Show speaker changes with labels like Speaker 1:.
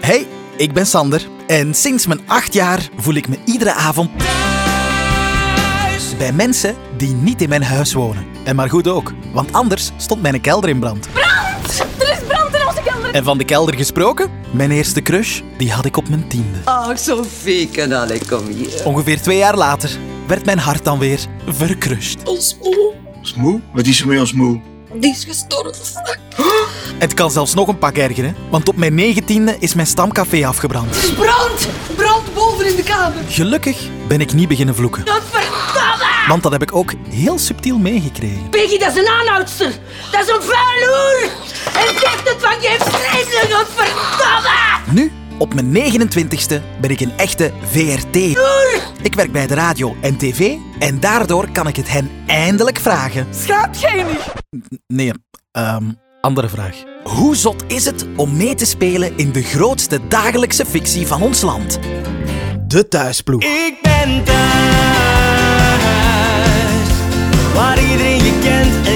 Speaker 1: Hey, ik ben Sander en sinds mijn acht jaar voel ik me iedere avond thuis bij mensen die niet in mijn huis wonen. En maar goed ook, want anders stond mijn kelder in brand.
Speaker 2: Er is brand in onze kelder.
Speaker 1: En van de kelder gesproken, mijn eerste crush, die had ik op mijn tiende.
Speaker 3: Ach, Sophie, kanale, kom hier.
Speaker 1: Ongeveer twee jaar later werd mijn hart dan weer verkrust.
Speaker 2: Ons moe.
Speaker 4: Ons moe? Wat is er met ons moe?
Speaker 2: Die is gestorven.
Speaker 1: Het kan zelfs nog een pak ergeren, want op mijn negentiende is mijn stamcafé afgebrand.
Speaker 3: Brand! Brand boven in de kamer.
Speaker 1: Gelukkig ben ik niet beginnen vloeken,
Speaker 2: Dat verdomme!
Speaker 1: want dat heb ik ook heel subtiel meegekregen.
Speaker 2: Peggy, dat is een aanhoudster. Dat is een vuiloer. En zegt het van je vreemdeling, dat verdomme!
Speaker 1: Nu, op mijn 29ste, ben ik een echte VRT. Ik werk bij de radio en tv en daardoor kan ik het hen eindelijk vragen.
Speaker 3: Schaapgenig.
Speaker 1: Nee, ehm, andere vraag. Hoe zot is het om mee te spelen in de grootste dagelijkse fictie van ons land? De thuisploeg.
Speaker 5: Ik ben thuis, waar iedereen je kent en